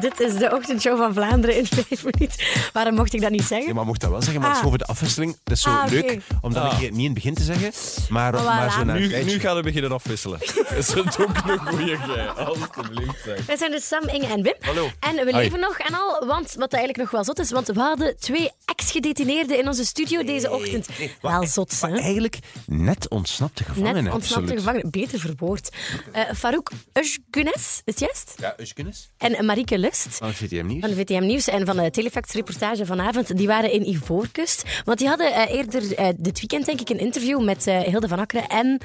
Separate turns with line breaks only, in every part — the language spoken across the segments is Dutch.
Dit is de ochtendshow van Vlaanderen in vijf minuten. Waarom mocht ik dat niet zeggen?
Ja, maar mocht dat wel zeggen, maar het is
Ah.
gewoon voor de afwisseling. Dat is zo
Ah, oké.
leuk om dat
Ah.
een keer niet in het begin te zeggen, maar,
Voilà.
maar zo naar
Nu,
het
nu
eindje.
gaan we beginnen afwisselen. Is het ook een goeie gij? Alsjeblieft, zeg.
Wij zijn dus Sam, Inge en Wim.
Hallo.
En we
Hoi.
leven nog en al, want wat eigenlijk nog wel zot is, want we hadden twee ex-gedetineerden in onze studio deze ochtend. wel zot, hè?
Maar e- eigenlijk net ontsnapte gevangenen.
Net ontsnapte
Oh, absoluut.
gevangenen, beter verwoord. Eh Farouk Özgunes, is het juist?
Ja, Uskunis.
En Marieke Lust.
Van het VTM Nieuws.
Van de VTM Nieuws en van de Telefacts reportage vanavond, die waren in Ivoorkust. Want die hadden eh, eerder eh, dit weekend, denk ik, een interview met eh, Hilde van Akkeren en...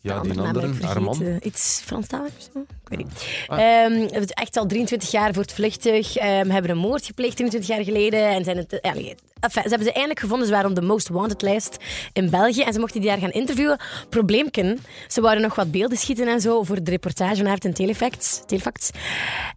Ja,
de
die
naam ben ik
andere,
vergeten.
Armand.
eh,
Ah.
Iets Franstalig of zo? Ik weet niet. Ehm, het is echt al 23 jaar voortvluchtig. ehm hebben een moord gepleegd 23 jaar geleden. En zijn het, eh, ja, nee, enfin, ze hebben ze eindelijk gevonden. Ze waren op de Most Wanted lijst in België. En ze mochten die daar gaan interviewen. Probleemken. Ze wouden nog wat beelden schieten en zo voor de reportage naar het in Telefacts. Telefacts.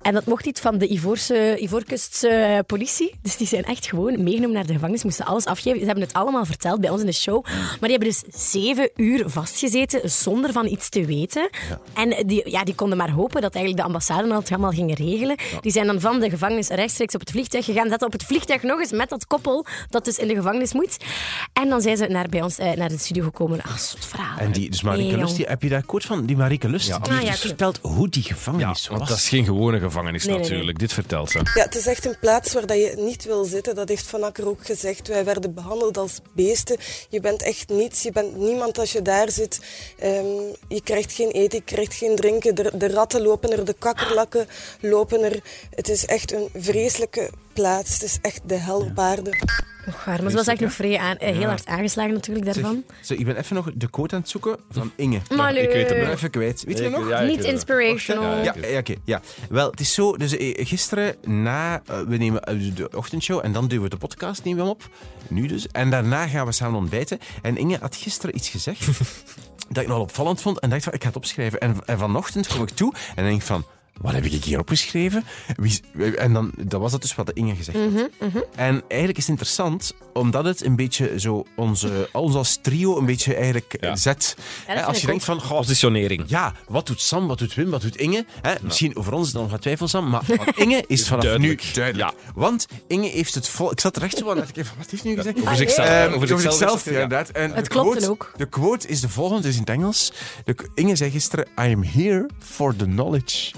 En dat mocht niet van de Ivoorse, Ivoorkustse eh, politie. Dus die zijn echt gewoon meegenomen naar de gevangenis. Moesten alles afgeven. Ze hebben het allemaal verteld bij ons in de show. Maar die hebben dus zeven uur vastgezeten zonder van iets te weten. En die, ja, die konden maar hopen dat eigenlijk de ambassade dat allemaal gingen regelen. Die zijn dan van de gevangenis rechtstreeks op het vliegtuig gegaan. Zaten op het vliegtuig nog eens met dat koppel dat dus in de gevangenis moet. En dan zijn ze naar, bij ons eh, naar de studio gekomen. Ach, zo'n verhaal.
En die, dus Marieke
Nee,
Lust, die, heb je daar kort van? Die Marieke Lust, die
Ah,
heeft
ja,
dus
klopt.
verteld hoe die gevangenis was.
want dat is geen gewone gevangenis
Nee, nee, nee.
natuurlijk. Dit vertelt ze.
Ja, het is echt een plaats waar dat je niet wil zitten. Dat heeft Van Akker ook gezegd. Wij werden behandeld als beesten. Je bent echt niets. Je bent niemand als je daar zit. Ehm, je krijgt geen eten, je krijgt geen drinken. De, de ratten lopen er, de kakkerlakken lopen er. Het is echt een vreselijke plaats. Het is echt de hel op aarde.
Och, waar, maar ze was echt nog vrij aan, eh, heel hard aangeslagen natuurlijk daarvan.
Zeg, zo, ik ben even nog de quote aan het zoeken van Inge.
Maar
ik weet het
Ik
leuk.
ben even kwijt. Weet je
Ik-
nog?
ja, ik
Niet
weet het.
inspirational.
Ja,
eh, Oh, Ja, ja oké. ja. Wel, het is zo. Dus eh, gisteren na. eh, we nemen eh, de ochtendshow en dan doen we de podcast nemen we hem op. Nu dus. En daarna gaan we samen ontbijten. En Inge had gisteren iets gezegd. dat ik nogal opvallend vond. En dacht van, ik ga het opschrijven. En, en vanochtend kom ik toe en denk ik van. Wat heb ik hier opgeschreven? Wie, is- en dan, dat was dat dus wat Inge gezegd
Mhm,
had. En eigenlijk is het interessant, omdat het een beetje zo onze, ons als trio een beetje eigenlijk eh,
Ja.
zet.
dat
Hè,
vind
als
ik
je denkt van, goh,
Positionering.
ja, wat doet Sam, wat doet Wim, wat doet Inge? Hè? Misschien voor ons is dat nog wat twijfel, Sam, maar van Inge is vanaf
duidelijk.
nu duidelijk. Want Inge heeft het vol... Ik zat er echt zo aan, dacht ik even, wat heeft nu gezegd?
Over
Ah,
zichzelf.
Ehm,
hè.
over zichzelf, ja,
ja.
inderdaad. En
Het
de
klopte
quote-
ook.
De quote is de volgende, het is in het Engels. De, Inge zei gisteren, I am here for the knowledge.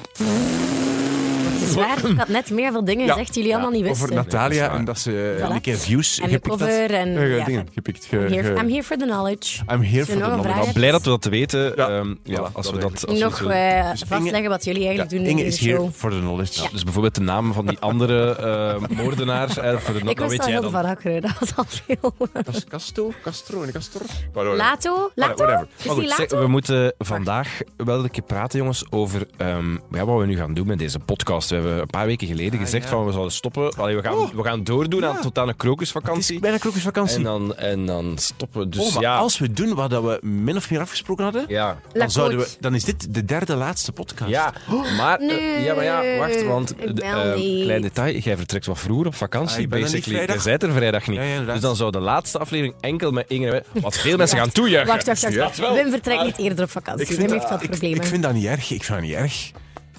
Het is waar, ik had net meer veel dingen
Ja.
gezegd die jullie allemaal niet
Over
wisten.
Natalia
waar.
en dat ze
Voilà.
eh, een keer views
En de
gepikt had.
cover en-
Eh,
ja.
dingen gepikt. ge-
I'm here,
ge-
I'm here for the knowledge.
I'm here
Als je
for the
nog een vraag
knowledge.
hebt,
Blij dat we dat weten.
Ja.
Ehm, ja,
Voilà,
als
dat
we dat, als we
nog
dat-
eh,
Dus Inge-
vastleggen wat jullie
Ja,
eigenlijk doen
Inge
in de
is here
show.
for the knowledge.
Dus bijvoorbeeld de naam van die andere eh, moordenaar. eh, voor de,
Ik
dat
wist
weet
al
jij
heel
dan.
van Akkeren, dat was al veel.
Dat is Castro, Castro en Castro.
Lato?
Whatever,
Lato?
Oh, whatever.
Is
Maar
die
goed, zeg,
Lato?
we moeten vandaag wel een keer praten, jongens, over ehm, ja, wat we nu gaan doen met deze podcast. We hebben een paar weken geleden gezegd
ja.
van we zouden stoppen. Allee, we, gaan,
Oh.
we gaan doordoen aan,
Ja.
tot aan een
Het is
krokusvakantie.
bijna krokusvakantie.
En dan, en dan stoppen we. Dus
Oh, maar
ja,
als we doen wat dat we min of meer afgesproken hadden,
ja.
Lacote.
dan, zouden we, dan is dit de derde laatste podcast.
Ja, maar, eh,
Nee,
ja, maar ja, wacht, want
ik
de,
bel
ehm,
niet.
klein detail, jij vertrekt wat vroeger op vakantie,
Ah, ik ben er niet
basically. Jij
vrijdag.
bent er vrijdag niet.
Ja, ja, inderdaad.
dus dan zou de laatste aflevering enkel met Inge... Wat veel mensen gaan toejuichen.
Wacht, wacht, wacht.
Dat wel.
Wim vertrekt niet eerder op vakantie. Wim heeft wat
Ah, ik-
problemen.
Ik, vind dat niet erg. Ik vind dat niet erg.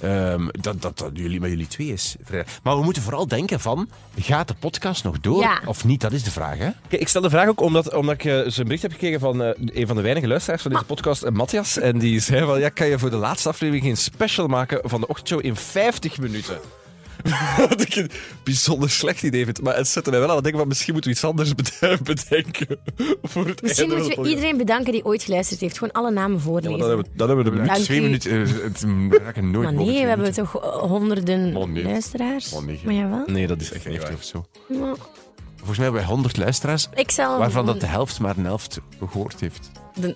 Ehm, dat, dat, dat jullie met jullie twee is. vrijdag. Maar we moeten vooral denken van, gaat de podcast nog door
Ja.
of niet? Dat is de vraag, hè?
Kijk, Ik stel de vraag ook omdat, omdat ik eh, dus een bericht heb gekregen van eh, een van de weinige luisteraars van deze podcast, eh, Matthias. En die zei van, ja, kan je voor de laatste aflevering geen special maken van de ochtendshow in 50 minuten? Wat ik een bijzonder slecht idee vind. Maar het zette mij wel aan het denken van, misschien moeten we iets anders bede- bedenken voor het
Misschien
einde van
moeten
het
we iedereen bedanken die ooit geluisterd heeft. Gewoon alle namen
programma. Ja, maar
voorlezen.
dan hebben we, dan hebben we de
Dank
minuut.
twee
u.
minuten. eh, het, we raken nooit
Maar
boven
nee,
twee
we hebben
minuten.
toch eh, honderden
Oh, nee.
luisteraars?
Oh, nee.
Maar jawel.
Nee, dat is echt niet
50
waar.
of zo.
Maar
Volgens mij hebben wij 100 luisteraars,
Ik zal...
waarvan dat de helft maar een helft gehoord heeft.
de-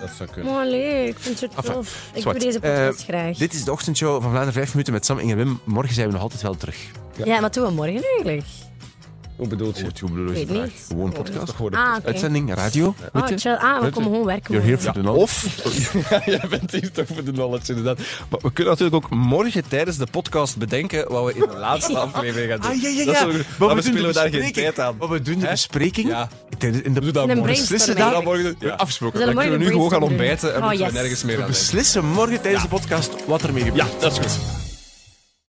Dat zou kunnen.
Maar nee, ik vind het zo tof. Ik doe
zwart.
deze podcast
Eh,
graag.
Dit is de ochtendshow van Vlaanderen 5 minuten met Sam, Inge en Wim. Morgen zijn we nog altijd wel terug.
Ja, wat doen we morgen eigenlijk?
Hoe bedoelt je?
Goed, hoe bedoel je
Weet
de vraag?
niet.
Gewoon podcast.
Ah, oké.
Uitzending, radio.
Oh,
Weet je?
chill. Ah, we
Weet je?
komen gewoon werken.
You're here
morgen.
for the
Of, ja, jij bent hier toch voor de knowledge, inderdaad. Maar we kunnen natuurlijk ook morgen tijdens de podcast bedenken wat we in de laatste aflevering gaan doen.
Ah, ja, ja,
Dat
ja.
zullen we-
Maar
maar we
doen de
spelen daar geen
bespreking.
tijd aan.
Maar we doen de
Hè?
bespreking.
Ja.
tijdens- In de,
Doe dat
In een
morgen.
brainstorm
beslissen
Doe dat
eigenlijk.
morgen. doen. Ja.
afgesproken.
Zullen
Dan
we
kunnen we nu
morgen
gewoon gaan
een brainstorm
ontbijten en
doen?
moeten we
Oh, yes.
nergens meer aan
We
denken.
beslissen morgen tijdens de podcast wat er mee gebeurt.
Ja, dat is goed.